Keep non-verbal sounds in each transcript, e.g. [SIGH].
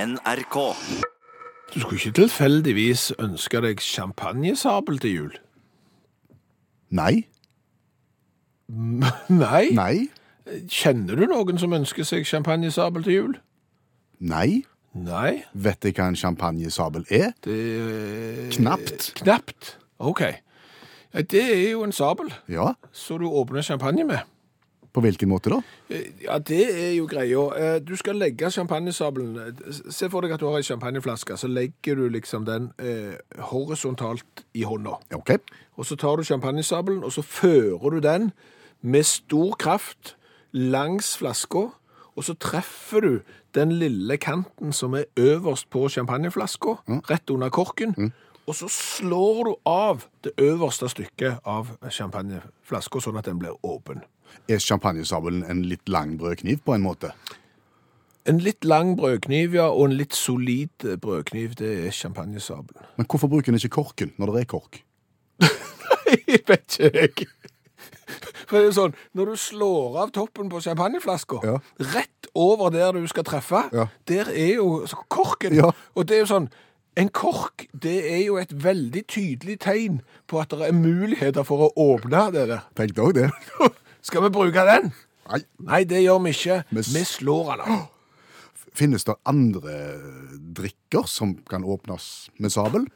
NRK. Du skulle ikke tilfeldigvis ønske deg champagnesabel til jul? Nei. Nei. Nei. Kjenner du noen som ønsker seg champagnesabel til jul? Nei. Nei. Vet jeg hva en champagnesabel er? Det er Knapt. Knapt. OK. Ja, Det er jo en sabel Ja. som du åpner champagne med. På hvilken måte da? Eh, Ja, det er jo greia. Eh, Du skal legge champagnesabelen eh, Se for deg at du har ei champagneflaske, så legger du liksom den eh, horisontalt i hånda. Ok. Og så tar du champagnesabelen, og så fører du den med stor kraft langs flaska, og så treffer du den lille kanten som er øverst på champagneflaska, rett under korken, og så slår du av det øverste stykket av champagneflaska, sånn at den blir åpen. Er champagnesabelen en litt lang brødkniv på en måte? En litt lang brødkniv, ja, og en litt solid eh, brødkniv, det er champagnesabelen. Men hvorfor bruker en ikke korken når det er kork? [LAUGHS] Jeg vet ikke jeg. For det er jo sånn, Når du slår av toppen på champagneflaska, Ja. rett over der du skal treffe, Ja. der er jo så- korken. Ja. Og det er jo sånn En kork det er jo et veldig tydelig tegn på at det er muligheter for å åpne det der. Tenkte òg det. [LAUGHS] Skal vi bruke den? Nei. Nei, det gjør vi ikke. Vi s- Vi slår den av. Finnes det andre drikker som kan åpnes med sabel?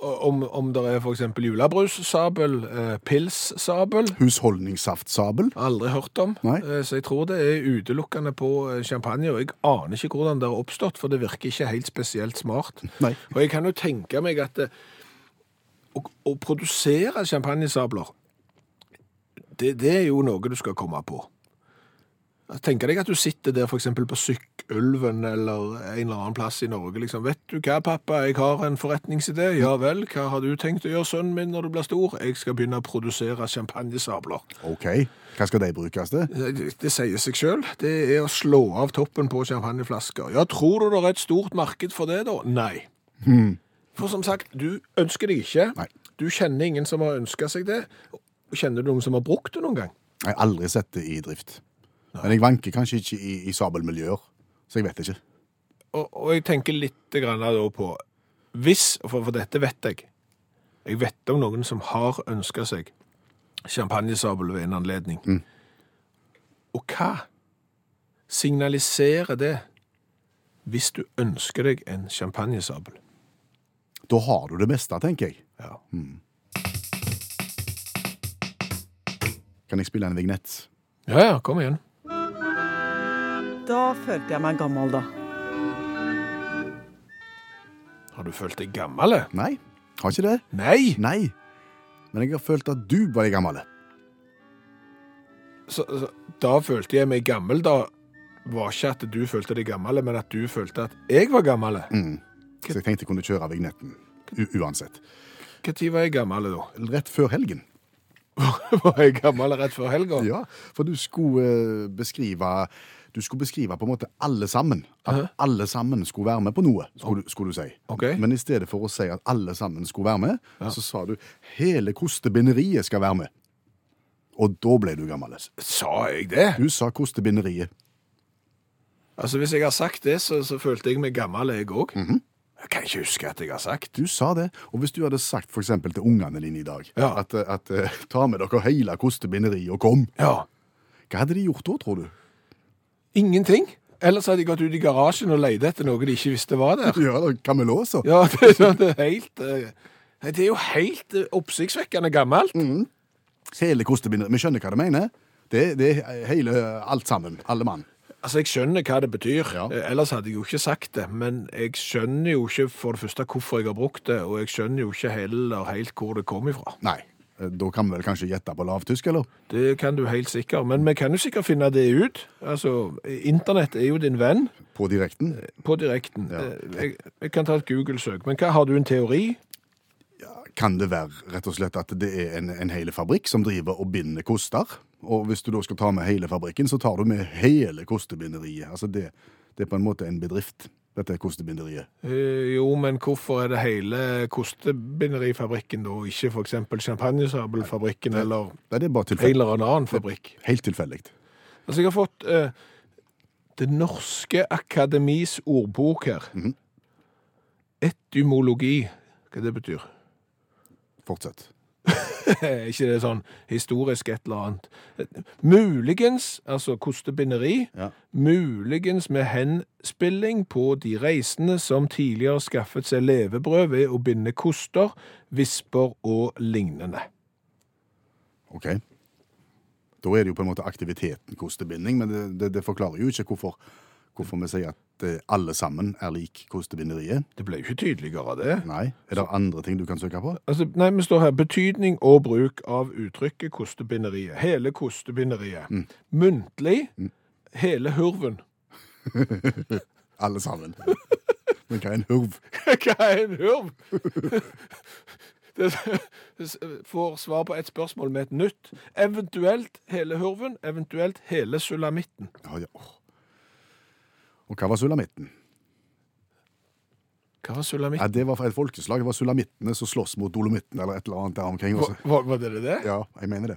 Og Om, om det er f.eks. julebrussabel, eh, pilssabel Husholdningssaftsabel? Aldri hørt om. Nei. Eh, Så jeg tror det er utelukkende på eh, champagne, og jeg aner ikke hvordan det har oppstått, for det virker ikke helt spesielt smart. Nei. Og jeg kan jo tenke meg at eh, å, å produsere champagnesabler, det, det er jo noe du skal komme på. Jeg tenker deg at du sitter der for eksempel på Sykkylven eller en eller annen plass i Norge, liksom, vet du hva, pappa, jeg har en forretningsidé, ja vel, hva har du tenkt å gjøre, sønnen min, når du blir stor? Jeg skal begynne å produsere champagnesabler. OK. Hva skal de brukes til? Det det sier seg selv. Det er å slå av toppen på champagneflasker. Ja, tror du det er et stort marked for det, da? Nei. For som sagt, du ønsker det ikke. Nei. Du kjenner ingen som har ønska seg det. Kjenner du noen som har brukt det noen gang? Jeg har aldri sett det i drift. Men jeg vanker kanskje ikke i, i sabelmiljøer, så jeg vet ikke. Og, og jeg tenker litt grann da på Hvis, for, for dette vet jeg Jeg vet om noen som har ønska seg champagnesabel ved en anledning. Og hva signaliserer det hvis du ønsker deg en champagnesabel? Da har du det meste, tenker jeg. Ja. Kan jeg spille en vignett? ja ja, kom igjen. Da følte jeg meg gammel, da. Har du følt deg gammel? eh? Nei, har ikke det. Nei! Nei. Men jeg har følt at du var den gamle. Så, så, da følte jeg meg gammel. Da var ikke at du følte deg gammel, men at du følte at jeg var gammel. Så jeg tenkte jeg kunne kjøre vignetten u uansett. Når var jeg gammel, da? Rett før helgen. [LAUGHS] Var jeg gammel rett før helga? Ja, for du skulle eh, beskrive Du skulle beskrive på en måte alle sammen. At alle sammen skulle være med på noe, skulle, du- skulle du si. Ok. Men i stedet for å si at alle sammen skulle være med, så sa du hele kostebinderiet skal være med. Og da ble du gammel. Sa jeg det? Du sa kostebinderiet. Altså, Hvis jeg har sagt det, så, så følte jeg meg gammel, jeg òg. Mhm. Jeg kan ikke huske at jeg har sagt Du sa det. Og hvis du hadde sagt for eksempel til ungene dine i dag Ja. at, eh, at eh, ta med dere hele kostebinderiet og kom, Ja. hva hadde de gjort da, tror du? [LAUGHS] Ingenting. Ellers hadde de gått ut i garasjen og leid etter noe de ikke visste var der. Ja, da kan vi låse? Ja, [LAUGHS] Det, er sånn, det, er, helt, eh, nei, det er jo helt eh, oppsiktsvekkende gammelt. Mm. Hele kostebinderiet. Vi skjønner hva du mener. Det, det er hele, alt sammen. Alle mann. Altså, Jeg skjønner hva det betyr, Ja. Eh, ellers hadde jeg jo ikke sagt det. Men jeg skjønner jo ikke for det første hvorfor jeg har brukt det, og jeg skjønner jo ikke heller helt hvor det kom ifra. Nei. eh, Da kan vi vel kanskje gjette på lavtysk, eller? Det kan du helt sikkert, men vi kan jo sikkert finne det ut. Altså, Internett er jo din venn. På direkten. På direkten. Eh, Jeg, jeg kan ta et Google-søk, men hva har du en teori? Kan det være rett og slett at det er en, en hele fabrikk som driver og binder koster? Og hvis du da skal ta med hele fabrikken, så tar du med hele kostebinderiet. Altså det, det er på en måte en bedrift, dette kostebinderiet. Eh, jo, men hvorfor er det hele kostebinderifabrikken da, og ikke for eksempel champagnesabelfabrikken eller Nei, det er bare en tilfeldig. eller annen fabrikk? Helt tilfeldig. Altså, jeg har fått eh, Det norske akademis ordbok her. Etymologi, hva det betyr? Fortsett. [LAUGHS] Er ikke det sånn historisk et eller annet? Muligens, altså kostebinderi, Ja. muligens med henspilling på de reisende som tidligere skaffet seg levebrød ved å binde koster, visper og lignende. OK. Da er det jo på en måte aktiviteten kostebinding, men det, det, det forklarer jo ikke hvorfor, hvorfor vi sier at eh, alle sammen er lik kostebinderiet. Det ble jo ikke tydeligere av det. Nei. Er det andre ting du kan søke på? Altså, nei, vi står her. Betydning og bruk av uttrykket kostebinderiet. Hele kostebinderiet. Muntlig. Hele hurven. Alle sammen. [LAUGHS] Men hva er en hurv? Hva er en hurv? [LAUGHS] Det s- får svar på et spørsmål med et nytt. Eventuelt hele hurven, eventuelt hele sulamitten. Ja, ja. åh. Og hva var sulamitten? Hva var sulamitten? Ja, det var et folkeslag. Det var sulamittene som sloss mot dolomitten eller et eller annet der omkring. Også. Var, var- var det det? altså. Ja. Ja, jeg mener det.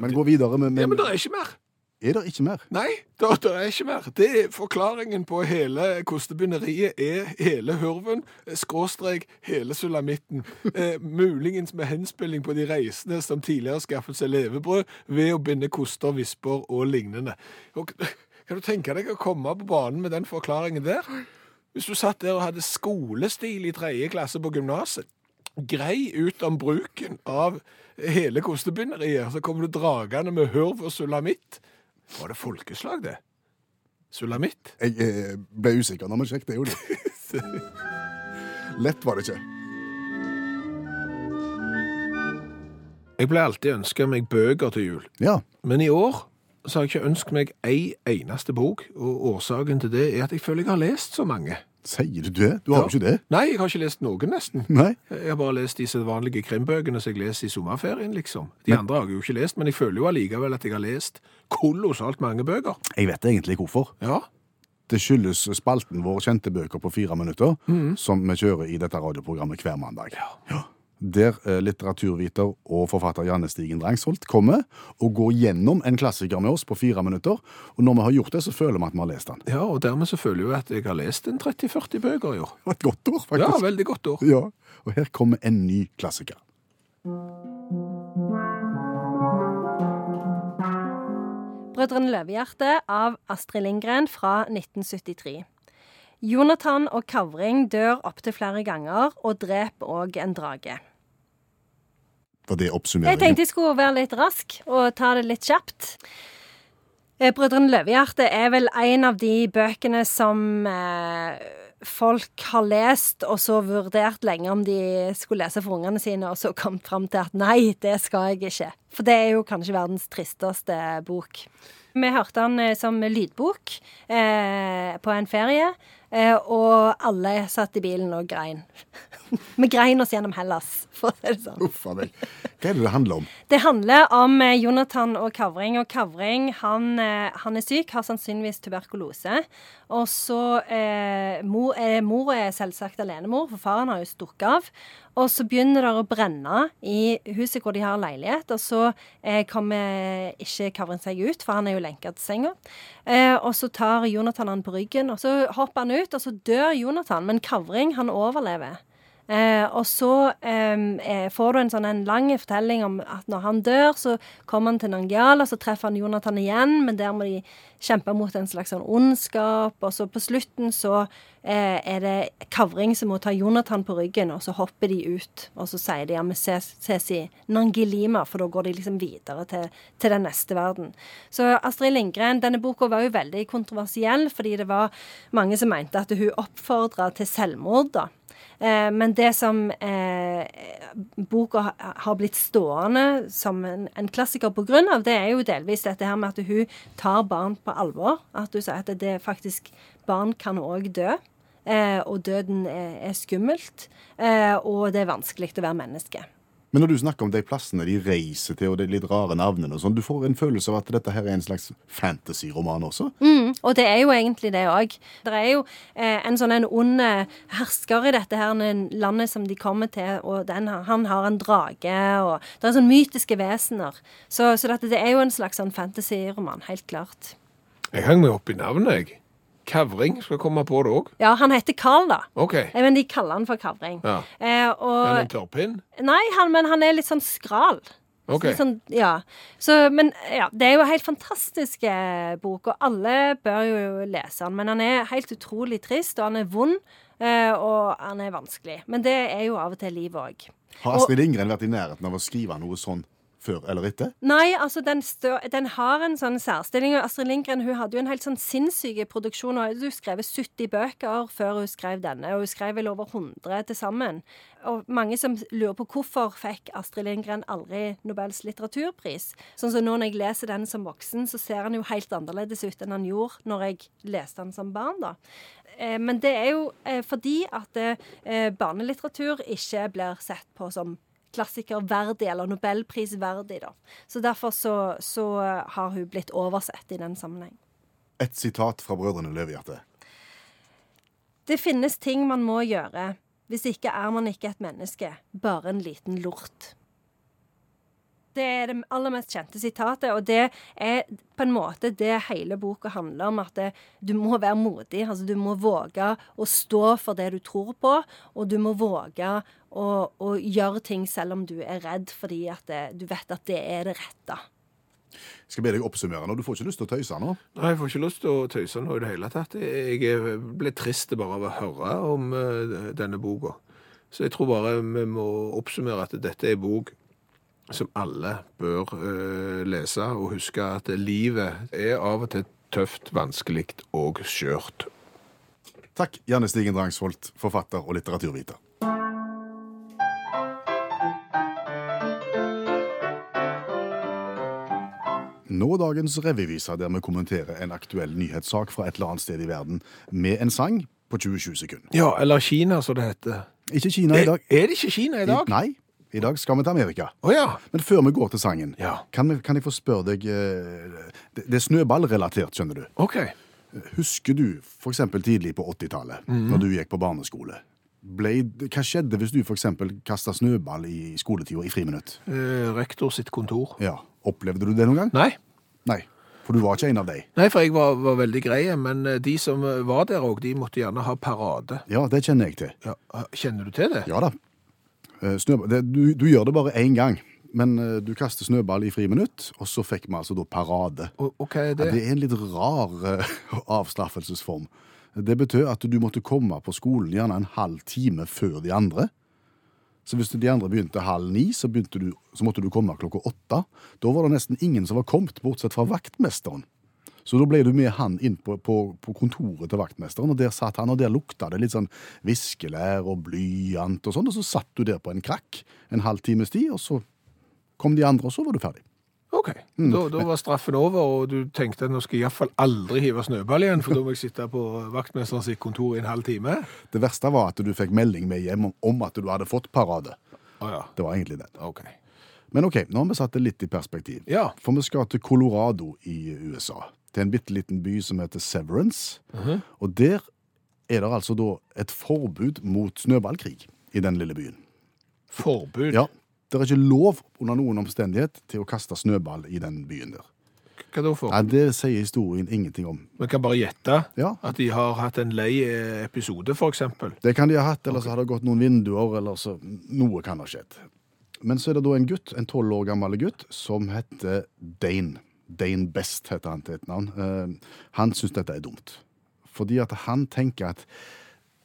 Men gå videre. Men, men, men det er ikke mer. er det ikke mer? Nei, det, det er ikke mer. Det er forklaringen på hele kostebinderiet er hele hurven, eh, skråstrek hele sulamitten. Eh, muligens med henspilling på de reisende som tidligere skaffet seg levebrød ved å binde koster, visper og lignende. Og, kan du tenke deg å komme på banen med den forklaringen der? Hvis du satt der og hadde skolestil i tredje klasse på gymnaset, grei ut om bruken av hele kostebinderiet, så kommer du dragende med hurv og sulamitt. Var det folkeslag, det? Sulamitt? Jeg eh, ble usikker når vi sjekket det, jo. det. [LAUGHS] Lett var det ikke. Jeg ble alltid ønska meg bøker til jul, Ja. men i år så har jeg ikke ønsket meg ei eneste bok, og årsaken til det er at jeg føler jeg har lest så mange. Sier du det? Du har jo ikke det. Nei, jeg har ikke lest noen, nesten. Nei. Jeg har bare lest de sedvanlige krimbøkene som jeg leser i sommerferien, liksom. De andre har jeg jo ikke lest, men jeg føler jo allikevel at jeg har lest kolossalt mange bøker. Jeg vet egentlig hvorfor. Ja. Det skyldes spalten vår Kjente bøker på fire minutter, som vi kjører i dette radioprogrammet hver mandag. Mhm. Ja. Der eh, litteraturviter og forfatter Janne Stigen Drangsholt kommer og går gjennom en klassiker med oss på fire minutter. Og når vi har gjort det, så føler vi at vi har lest den. ja, og dermed så føler jeg jo at jeg har lest en 30-40 bøker i år. Det var et godt ord, Ja, faktisk. veldig godt år. Ja, og her kommer en ny klassiker. Brødrene Løvehjerte av Astrid Lindgren fra 1973. Jonathan og Kavring dør opptil flere ganger og dreper òg en drage. For det er Jeg oppsummeringen. tenkte jeg skulle være litt rask og ta det litt kjapt. Eh, Brødrene Løvehjerte er vel en av de bøkene som eh, folk har lest, og så vurdert lenge om de skulle lese for ungene sine, og så kommet fram til at nei, det skal jeg ikke. For det er jo kanskje verdens tristeste bok. Vi hørte den eh, som lydbok eh, på en ferie, eh, og alle satt i bilen og grein. [LAUGHS] Vi grein oss gjennom Hellas, for å si det [LAUGHS] sånn. Uff a meg. Hva er det det handler om? Det handler om eh, Jonathan og Kavring. Og Kavring han, eh, han er syk, har sannsynligvis tuberkulose. Og så eh, mor, eh, mor er selvsagt alenemor, for faren har jo stukket av. Og så begynner det å brenne i huset hvor de har leilighet. Og så eh, kommer ikke Kavring seg ut, for han er jo lenka til senga. Eh, og så tar Jonathan han på ryggen, og så hopper han ut, og så dør Jonathan. Men Kavring, han overlever. Eh, og så ehm, eh, får du en sånn en lang fortelling om at når han dør, så kommer han til Nangiala, så treffer han Jonathan igjen, men der må de kjempe mot en slags sånn ondskap. Og så på slutten så eh, er det Kavring som må ta Jonathan på ryggen, og så hopper de ut. Og så sier de ja, vi ses, ses i Nangilima, for da går de liksom videre til, til den neste verden. Så Astrid Lindgren, denne boka var jo veldig kontroversiell, fordi det var mange som mente at hun oppfordra til selvmord, da. Eh, men det som eh, boka ha- har blitt stående som en, en klassiker på grunn av, det er jo delvis dette her med at hun tar barn på alvor. At hun sier at det er faktisk barn kan òg dø. Eh, og døden er, er skummelt. Eh, og det er vanskelig å være menneske. Men når du snakker om de plassene de reiser til, og de litt rare navnene og sånn, du får en følelse av at dette her er en slags fantasy-roman også? Mm, og det er jo egentlig det òg. Det er jo eh, en sånn en ond eh, hersker i dette her n- landet som de kommer til, og den, har- han har en drage, og det er sånn mytiske vesener. Så, så dette, det er jo en slags sånn fantasyroman, helt klart. Jeg hang meg opp i navnet, jeg. Kavring skal jeg komme på det òg. Ja, han heter Carl, da. OK. Eh, Men de kaller han for Kavring. Ja. Eh, Er det og en tørrpinn? Nei, han, men han er litt sånn skral. Ok. Så litt Sånn, ja. Så, men ja, det er jo en helt fantastisk eh, bok, og alle bør jo lese den. Men han er helt utrolig trist, og han er vond, eh, og han er vanskelig. Men det er jo av og til livet òg. Har Astrid Lindgren vært i nærheten av å skrive noe sånn før eller etter? Nei, altså den, stø, den har en sånn særstilling. og Astrid Lindgren hun hadde jo en helt sånn sinnssyk produksjon. og Hun skrev 70 bøker før hun skrev denne, og hun skrev vel over 100 til sammen. Og mange som lurer på hvorfor fikk Astrid Lindgren aldri Nobels litteraturpris. Sånn som nå når jeg leser den som voksen, så ser han jo helt annerledes ut enn han gjorde når jeg leste han som barn, da. Eh, Men det er jo eh, fordi at eh, barnelitteratur ikke blir sett på som klassikerverdig, eller nobelprisverdig, da. Så derfor så, så har hun blitt oversett i den sammenheng. Et sitat fra Brødrene Løvehjerte. Det finnes ting man må gjøre. Hvis ikke er man ikke et menneske, bare en liten lort. Det er det aller mest kjente sitatet, og det er på en måte det hele boka handler om. At det, du må være modig. altså Du må våge å stå for det du tror på, og du må våge å, å gjøre ting selv om du er redd, fordi at det, du vet at det er det rette. Jeg skal be deg oppsummere nå. Du får ikke lyst til å tøyse nå. Nei, jeg får ikke lyst til å tøyse nå i det hele tatt. Jeg er- ble trist bare av å høre om eh, denne boka. Så jeg tror bare vi må oppsummere at dette er en bok som alle bør eh, lese, og huske at livet er av og til tøft, vanskelig og skjørt. Takk, Janne Stigen Drangsvold, forfatter og litteraturviter. Nå dagens revyvise, der vi kommenterer en aktuell nyhetssak fra et eller annet sted i verden med en sang på 20-20 sekunder. Ja, eller Kina, som det heter. Ikke Kina i Er, dag. er det ikke Kina i dag? Å Nei, i dag skal vi til Amerika. ja. Men før vi går til sangen, Ja. kan, vi, kan jeg få spørre deg eh, Det, det er snøballrelatert, skjønner du. OK. Eh, Husker du for eksempel tidlig på 80-tallet, når du gikk på barneskole? Ble, hva skjedde hvis du for eksempel kastet snøball i skoletida i friminutt? Eh, rektor sitt kontor. Ja, Opplevde du det noen gang? Nei. Nei, for du var ikke en av dem. Nei, for jeg var, var veldig grei, men eh, de som eh, var der òg, de måtte gjerne ha parade. Ja, det kjenner jeg til. Ja, kjenner du til det? Ja da. Eh, Snøball, det, du, du gjør det bare én gang, men eh, du kaster snøball i friminutt, og så fikk vi altså da parade. Og, og hva er Eh, det? Ja, det er en litt rar eh, avstraffelsesform. Det betød at du måtte komme på skolen gjerne en halv time før de andre. Så hvis de andre begynte halv ni, så, begynte du, så måtte du komme klokka åtte. Da var det nesten ingen som var kommet, bortsett fra vaktmesteren. Så da ble du med han inn på, på, på kontoret til vaktmesteren, og der satt han, og der lukta det litt sånn viskelær og blyant og sånn, og så satt du der på en krakk en halv times tid, og så kom de andre, og så var du ferdig. Ok, da, da var straffen over, og du tenkte at nå skal jeg iallfall aldri hive snøball igjen, for da må jeg sitte på vaktmesteren sitt kontor i en halv time. Det verste var at du fikk melding med hjem om, om at du hadde fått parade. Å ja, Det var egentlig det. ok. Men ok, nå har vi satt det litt i perspektiv. Ja. For vi skal til Colorado i USA. Til en bitte liten by som heter Severance. Og der er det altså da et forbud mot snøballkrig i den lille byen. Forbud. Ja, Det er ikke lov under noen omstendighet til å kaste snøball i den byen der. Hva da for? Nei, Det sier historien ingenting om. Vi kan bare gjette Ja. at de har hatt en lei eh, episode, for eksempel. Det kan de ha hatt, eller så har det gått noen vinduer, eller så Noe kan ha skjedd. Men så er det da en gutt, en tolv år gammel gutt, som heter Dane. Dane Best heter han til et navn. Eh, han syns dette er dumt. Fordi at han tenker at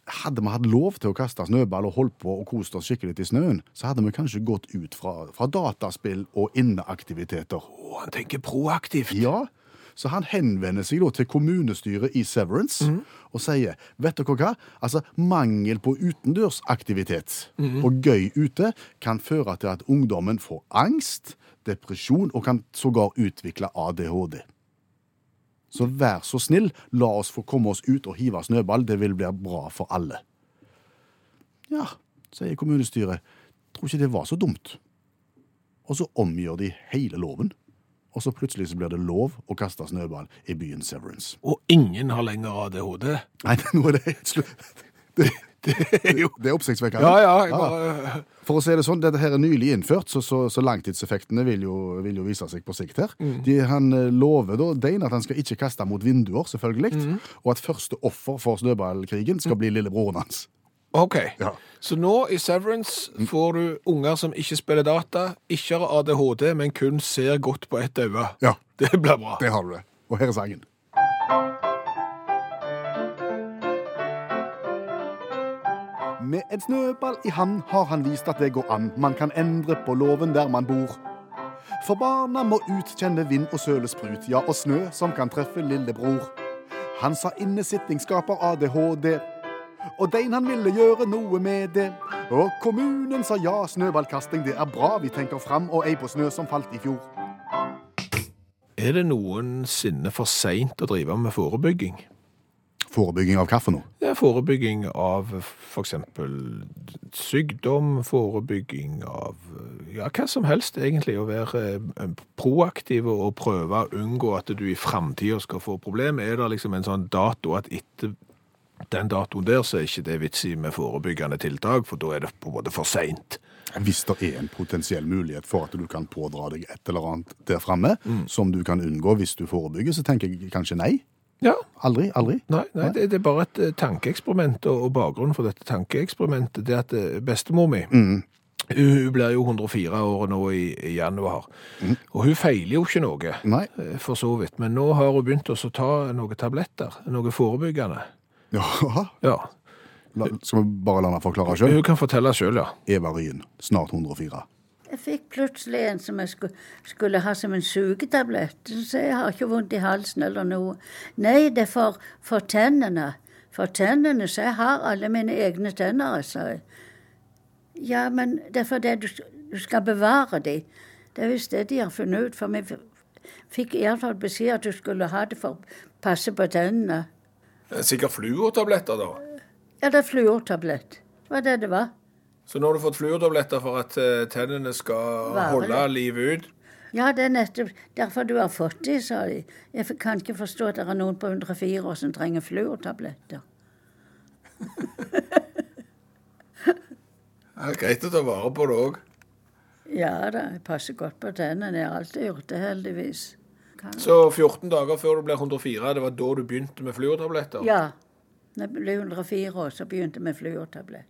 hadde vi hatt lov til å kaste snøball og holdt på og kost oss skikkelig i snøen, så hadde vi kanskje gått ut fra, fra dataspill og inneaktiviteter. Å, han tenker proaktivt. Ja, så han henvender seg da til kommunestyret i Severance og sier, vet dere hva? Altså, mangel på utendørsaktivitet og gøy ute kan føre til at ungdommen får angst, depresjon og kan sågar utvikle ADHD. Så vær så snill, la oss få komme oss ut og hive snøball, det vil bli bra for alle. Ja, sier kommunestyret, tror ikke det var så dumt. Og så omgjør de hele loven og så plutselig så blir det lov å kaste snøball i byen Severance. Og ingen har lenger ADHD. [LAUGHS] Nei, nå er det helt slutt. Det, Det er jo Det er oppsiktsvekkende. Ja, ja. Jeg bare, For å si det sånn, dette her er nylig innført, så, så, så langtidseffektene vil jo, vil jo vise seg på sikt her. De, han eh, lover da Dane at han skal ikke kaste mot vinduer, selvfølgelig, og at første offer for snøballkrigen skal bli lillebroren hans. OK. Ja. Mm. Så nå i Severance får du unger som ikke spiller data, ikke har ADHD, men kun ser godt på ett øye. Ja. Det blir bra. Det har du det. Og her er sangen. Med en snøball i hand har han vist at det går an. Man kan endre på loven der man bor. For barna må utkjenne vind og sølesprut, ja, og snø som kan treffe lillebror. Han sa innesitting skaper ADHD, og Dein han ville gjøre noe med det. Og kommunen sa ja, snøballkasting det er bra, vi tenker fram, og ei på snø som falt i fjor. Er det noensinne for seint å drive med forebygging? Forebygging av kaffe nå? Det er forebygging av f.eks. sykdom, forebygging av ja, hva som helst, egentlig. Å være eh, proaktiv og prøve å unngå at du i framtida skal få problem. Er det liksom en sånn dato at etter den datoen der, så er ikke det vits i med forebyggende tiltak, for da er det på en måte for seint. Hvis det er en potensiell mulighet for at du kan pådra deg et eller annet der framme, som du kan unngå hvis du forebygger, så tenker jeg kanskje nei. Ja. Aldri, aldri. Nei, nei det, det er bare et eh, tankeeksperiment, og, og bakgrunnen for dette tankeeksperimentet det er at eh, bestemor mi Hun hun blir jo 104 år nå i, i januar, og hun feiler jo ikke noe, Nei. [LAUGHS] eh, for så vidt. Men nå har hun begynt også å ta noen tabletter, noe forebyggende. Jaha. Ja, La, skal vi bare la meg forklare sjøl? Hun kan fortelle sjøl, ja. Eva Ryen, snart 104. Jeg fikk plutselig en som jeg skulle, skulle ha som en sugetablett. Så jeg har ikke vondt i halsen eller noe. Nei, det er for, for tennene. For tennene, så jeg har alle mine egne tenner, sa jeg. Ja, men det er fordi du, du skal bevare de. Det er visst det de har funnet ut, for vi fikk iallfall beskjed at du skulle ha det for å passe på tennene. Sikkert fluortabletter, da. Ja, det er fluortablett. Det var det det var. Så nå har du fått fluortabletter for at eh, tennene skal Være holde livet ut? Ja, det er nettopp derfor du har fått de, sa de. Jeg f- kan ikke forstå at det er noen på 104 år som trenger fluortabletter. greit å ta vare på det òg. Ja da, jeg passer godt på tennene. Jeg har alltid gjort det, heldigvis. Så 14 dager før du ble 104, det var da du begynte med fluortabletter? Ja. Da jeg ble 104 år, så begynte jeg med fluortablett.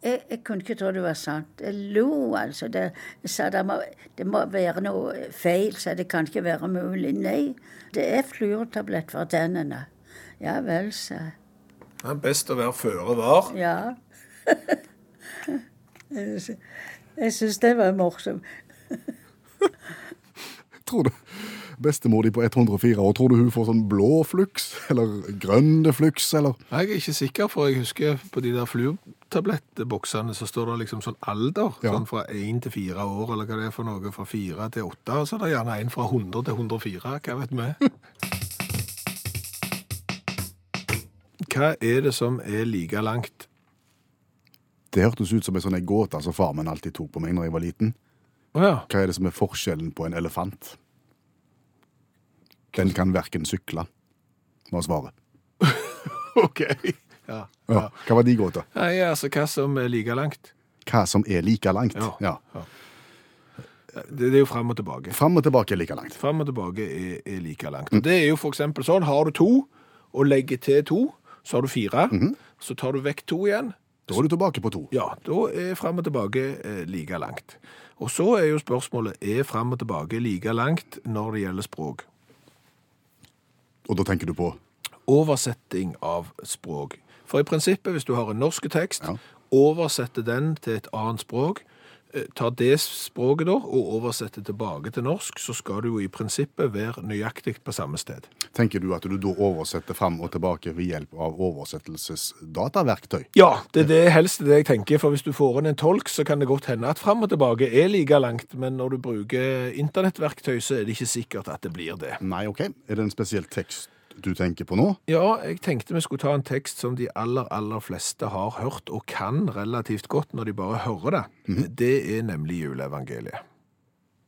Jeg, jeg kunne ikke tro det var sant. Jeg lo, altså. Det, jeg sa det må, det må være noe feil, så det kan ikke være mulig. Nei, det er fluortablett for tennene. Ja vel, sa jeg. Det er best å være føre var. Ja. [LAUGHS] Jeg syns det var morsomt. Tror du bestemor di på 104 år, tror du hun får sånn blå flux, eller grønn flux, eller Jeg er ikke sikker, for jeg husker på de der fluortablettboksene så står det liksom sånn alder, Ja. sånn fra 1 til 4 år, eller hva det er for noe, fra 4 til 8, og så er det gjerne en fra 100 til 104, hva vet vi? [LAUGHS] Hva er det som er like langt? Det hørtes ut som en sånn en gåte som far min alltid tok på meg når jeg var liten. Åja, Hva er det som er forskjellen på en elefant? Den kan verken sykle, var svaret. [LAUGHS] ok. Ja. Ja. Hva var de gåta? Nei, altså, hva som er like langt? Hva som er like langt. Ja. Ja. Det, det er jo frem og tilbake. Fram og tilbake er like langt. Frem og tilbake er, er like langt. Og det er jo for eksempel sånn, har du to, og legger til to, så har du fire, så tar du vekk to igjen, Da er du tilbake på to. ja, da er frem og tilbake eh, like langt. Og så er jo spørsmålet, er frem og tilbake like langt når det gjelder språk? Og da tenker du på Oversetting av språk. For i prinsippet, hvis du har en norske tekst, Ja. oversetter den til et annet språk, eh, tar det språket da, og oversetter tilbake til norsk, så skal du jo i prinsippet være nøyaktig på samme sted. Tenker du at du da oversetter fram og tilbake ved hjelp av oversettelsesdataverktøy? Ja, det er det helst det jeg tenker, for hvis du får inn en tolk, så kan det godt hende at fram og tilbake er like langt, men når du bruker internettverktøy, så er det ikke sikkert at det blir det. Nei, OK. Er det en spesiell tekst du tenker på nå? Ja, jeg tenkte vi skulle ta en tekst som de aller, aller fleste har hørt og kan relativt godt når de bare hører det. Det er nemlig juleevangeliet.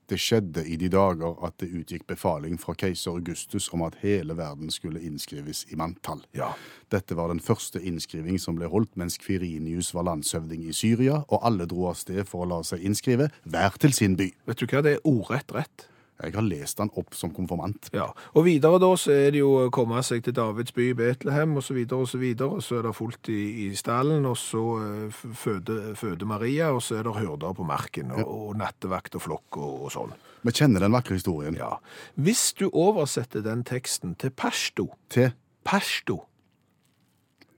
Det skjedde i de dager at det utgikk befaling fra keiser Augustus om at hele verden skulle innskrives i manntall. Ja. Dette var den første innskriving som ble holdt mens Kvirinius var landshøvding i Syria, og alle dro av sted for å la seg innskrive, hver til sin by. Vet du hva, det er ordrett rett. Jeg har lest han opp som konfirmant. Ja. Og videre da så er det jo å komme seg til Davids by, Betlehem osv., og så videre. Og så er det fullt i, i stallen, og så eh, f- føder føder Maria, og så er det hyrder på marken, og, og nattevakt og flokk og, og sånn. Vi kjenner den vakre historien Ja. Hvis du oversetter den teksten til pashto til Pashto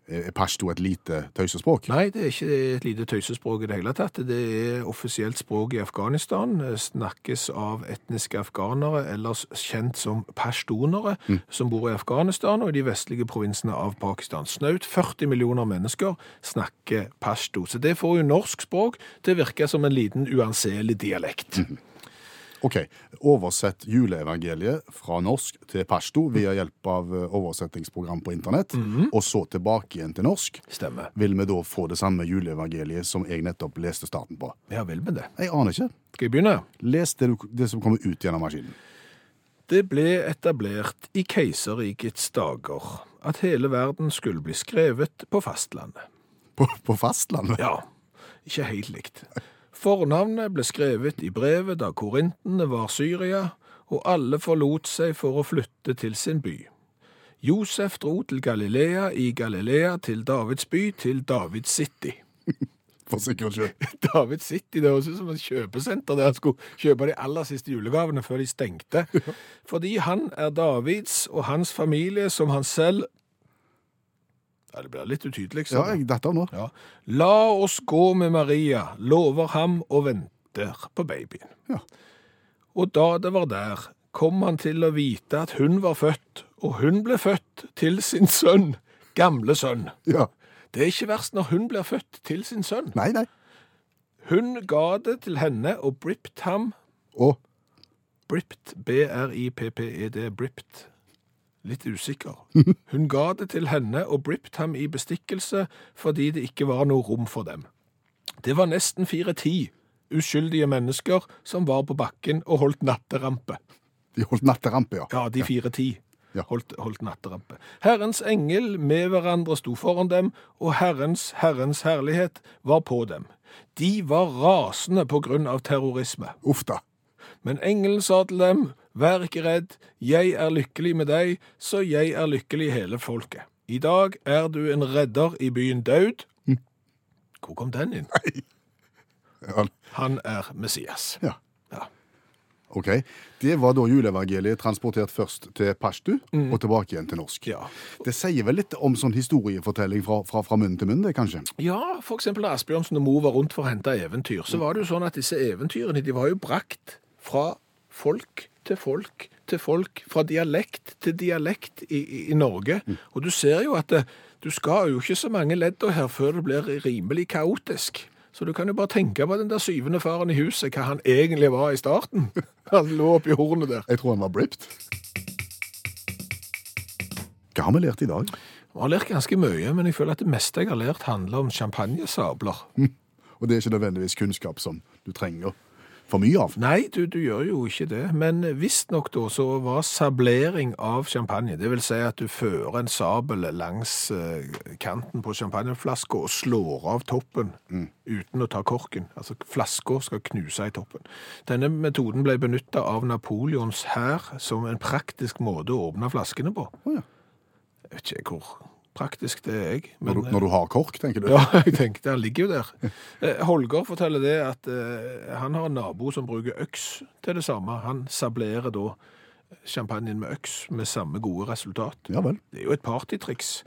Er pashto et lite tøysespråk? Nei, det er ikke et lite tøysespråk i det hele tatt. Det er offisielt språk i Afghanistan. Eh, Snakkes av etniske afghanere, ellers kjent som pashtunere, som bor i Afghanistan og i de vestlige provinsene av Pakistan. Snaut 40 millioner mennesker snakker pashto. Så det får jo norsk språk til å virke som en liten uanselig dialekt. Ok, oversett juleevangeliet fra norsk til Mm. pashto via hjelp av eh, oversettingsprogram på internett, Mm-hmm. og så tilbake igjen til norsk. Stemmer. Vil vi da få det samme juleevangeliet som jeg nettopp leste starten på? Ja vel med det. Jeg aner ikke. Skal jeg begynne? Les det, du- det som kommer ut gjennom maskinen. Det ble etablert i keiserrikets dager at hele verden skulle bli skrevet på fastlandet. På, på fastlandet? Ja, ikke helt likt. Fornavnet ble skrevet i brevet da korintene var Syria, og alle forlot seg for å flytte til sin by. Josef dro til Galilea, i Galilea til Davids by, til Davids City. [LAUGHS] For sikkerhets skyld. Davids City, det høres ut som et kjøpesenter der han skulle kjøpe de aller siste julegavene før de stengte. Fordi han er Davids og hans familie som han selv Ja, det blir litt utydelig. Ja, sånn. jeg datt av nå. Ja. La oss gå med Maria, lover ham og venter på babyen. Ja. Og da det var der, kom han til å vite at hun var født, og hun ble født til sin sønn, gamle sønn. Ja. Det er ikke verst når hun blir født til sin sønn. Nei, nei. Hun ga det til henne og bript ham, Og bript, B-R-I-P-P-E-D, E bript, litt usikker. Hun ga det til henne og bript ham i bestikkelse fordi det ikke var noe rom for dem. Det var nesten fire-ti uskyldige mennesker som var på bakken og holdt natterampe. de holdt natterampe, ja. Ja, de fire-ti Ja. holdt, holdt natterampe. Herrens engel med hverandre sto foran dem, og Herrens, Herrens herlighet var på dem. De var rasende på grunn av terrorisme. Uff da. Men engelen sa til dem, vær ikke redd, jeg er lykkelig med deg, så jeg er lykkelig i hele folket. I dag er du en redder i byen Daud. Hvor kom den inn? Ja. Han er Messias. ja. Ja. Ok. Det var da juleevangeliet transportert først til pashto og tilbake igjen til norsk. Mm. Ja. Det sier vel litt om sånn historiefortelling fra, fra, fra munn til munn, det, kanskje? Ja, for eksempel når Asbjørnsen og Mo var rundt for å hente eventyr, så var det jo sånn at disse eventyrene, de var jo brakt fra folk til folk til folk, fra dialekt til dialekt i, i, i Norge. Og du ser jo at det, du skal jo ikke så mange ledder her før det blir rimelig kaotisk. Så du kan jo bare tenke på den der syvende faren i huset, hva han egentlig var i starten. [LAUGHS] Han lå oppi hornet der. Jeg tror han var bripped. Hva har vi lært i dag? Jeg har lært ganske mye, men jeg føler at det meste jeg har lært handler om champagnesabler. Og det er ikke nødvendigvis kunnskap som du trenger for mye av. Nei, du, du gjør jo ikke det, men visstnok da så var sablering av champagne, det vil si at du fører en sabel langs eh, kanten på champagneflaska og slår av toppen Mm. uten å ta korken. Altså flaska skal knuse i toppen. Denne metoden ble benytta av Napoleons hær som en praktisk måte å åpne flaskene på. Å ja. Jeg vet ikke hvor praktisk det er, jeg. Når du, når du har kork, tenker du? eh, [LAUGHS] Ja, jeg tenkte, han ligger jo der. Eh, Holger forteller det at eh, han har en nabo som bruker øks til det samme. Han sablerer da champagnen med øks med samme gode resultat. Ja vel. Det er jo et partytriks,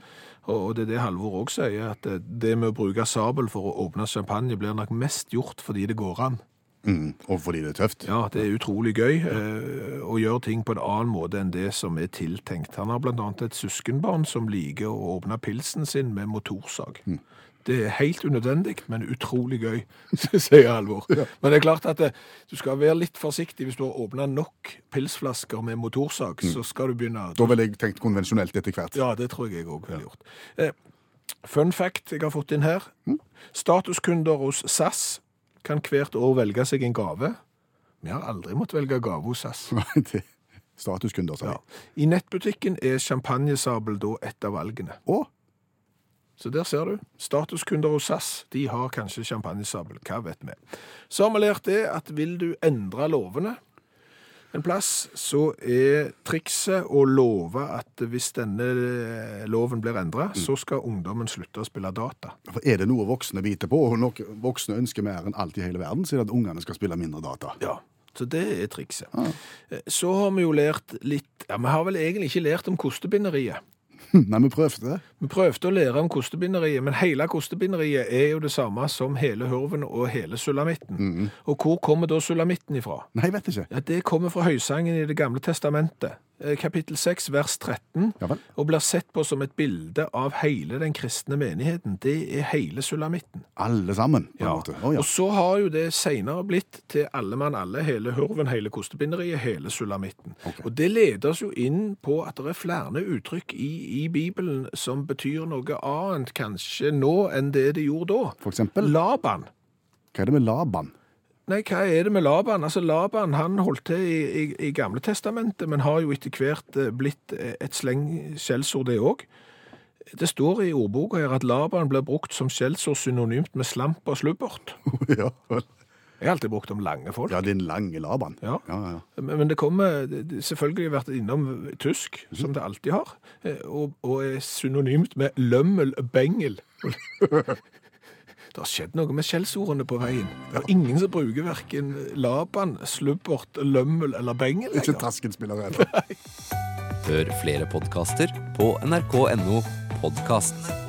og og det er det Halvor òg sier, at eh, det med å bruke sabel for å åpne champagne blir nok mest gjort fordi det går an. Mm. Og fordi det er tøft? Ja, det er utrolig gøy eh, å gjøre ting på en annen måte enn det som er tiltenkt. Han har blant annet et søskenbarn som liker å åpne pilsen sin med motorsag. Det er helt unødvendig, men utrolig gøy, [LAUGHS] sier Halvor. Men det er klart at eh, du skal være litt forsiktig hvis du har åpna nok pilsflasker med motorsag, så skal du begynne Da ville jeg tenkt konvensjonelt etter [LAUGHS] hvert. ja, det tror jeg jeg òg ville gjort. Eh, fun fact jeg har fått inn her. Statuskunder hos SAS kan hvert år velge seg en gave Vi har aldri måttet velge gave hos SAS. Nei, det er Statuskunder, sa Ja. jeg. I nettbutikken er champagnesabel da et av valgene. Å, Så der ser du. Statuskunder hos SAS de har kanskje champagnesabel. Hva vet vi. Så har vi lært det at vil du endre lovene en plass, så er trikset å love at hvis denne eh, loven blir endra, så skal ungdommen slutte å spille data. for er det noe voksne biter på, og noe voksne ønsker mer enn alt i hele verden, så er det at ungene skal spille mindre data. [LAUGHS] Ja, så det er trikset. Eh, Så har vi jo lært litt Ja, vi har vel egentlig ikke lært om kostebinderiet. Nei, vi prøvde det. Vi prøvde å lære om kostebinderiet, men hele kostebinderiet er jo det samme som hele hurven og hele sulamitten. Og hvor kommer da sulamitten ifra? Nei, vet ikke. Ja, Det kommer fra Høysangen i Det gamle testamentet, eh, kapittel 6, vers 13, Ja vel. og blir sett på som et bilde av hele den kristne menigheten. Det er hele sulamitten. Alle sammen, på en Ja. måte. Å, ja. Og så har jo det senere blitt til alle mann alle, hele hurven, hele kostebinderiet, hele sulamitten. Og det leder oss jo inn på at det er flere uttrykk i, i Bibelen som betyr noe annet kanskje nå enn det de gjorde da. For eksempel, Laban. hva er det med Laban? [LAUGHS] Nei, hva er det med Laban? Altså, Laban han holdt til i, i, i Gamle Testamentet, men har jo etter hvert eh, blitt eh, et sleng skjellsord, det òg. Det står i ordboka her at Laban blir brukt som skjellsord synonymt med slamp og slubbert. ja, vel. Jeg har alltid brukt om lange folk. ja, din lange Laban. Ja. ja, ja. Men men det kommer det- det- Selvfølgelig har jeg vært innom tysk, Mhm. som det alltid har, eh, og, og er synonymt med lømmel-bengel. [LAUGHS] Det har skjedd noe med skjellsordene på veien. Det er ingen som bruker verken Laban, slubbert, lømmel eller bengel. Ikke lenger. Tasken-spiller heller. Hør flere podkaster på nrk.no podkast.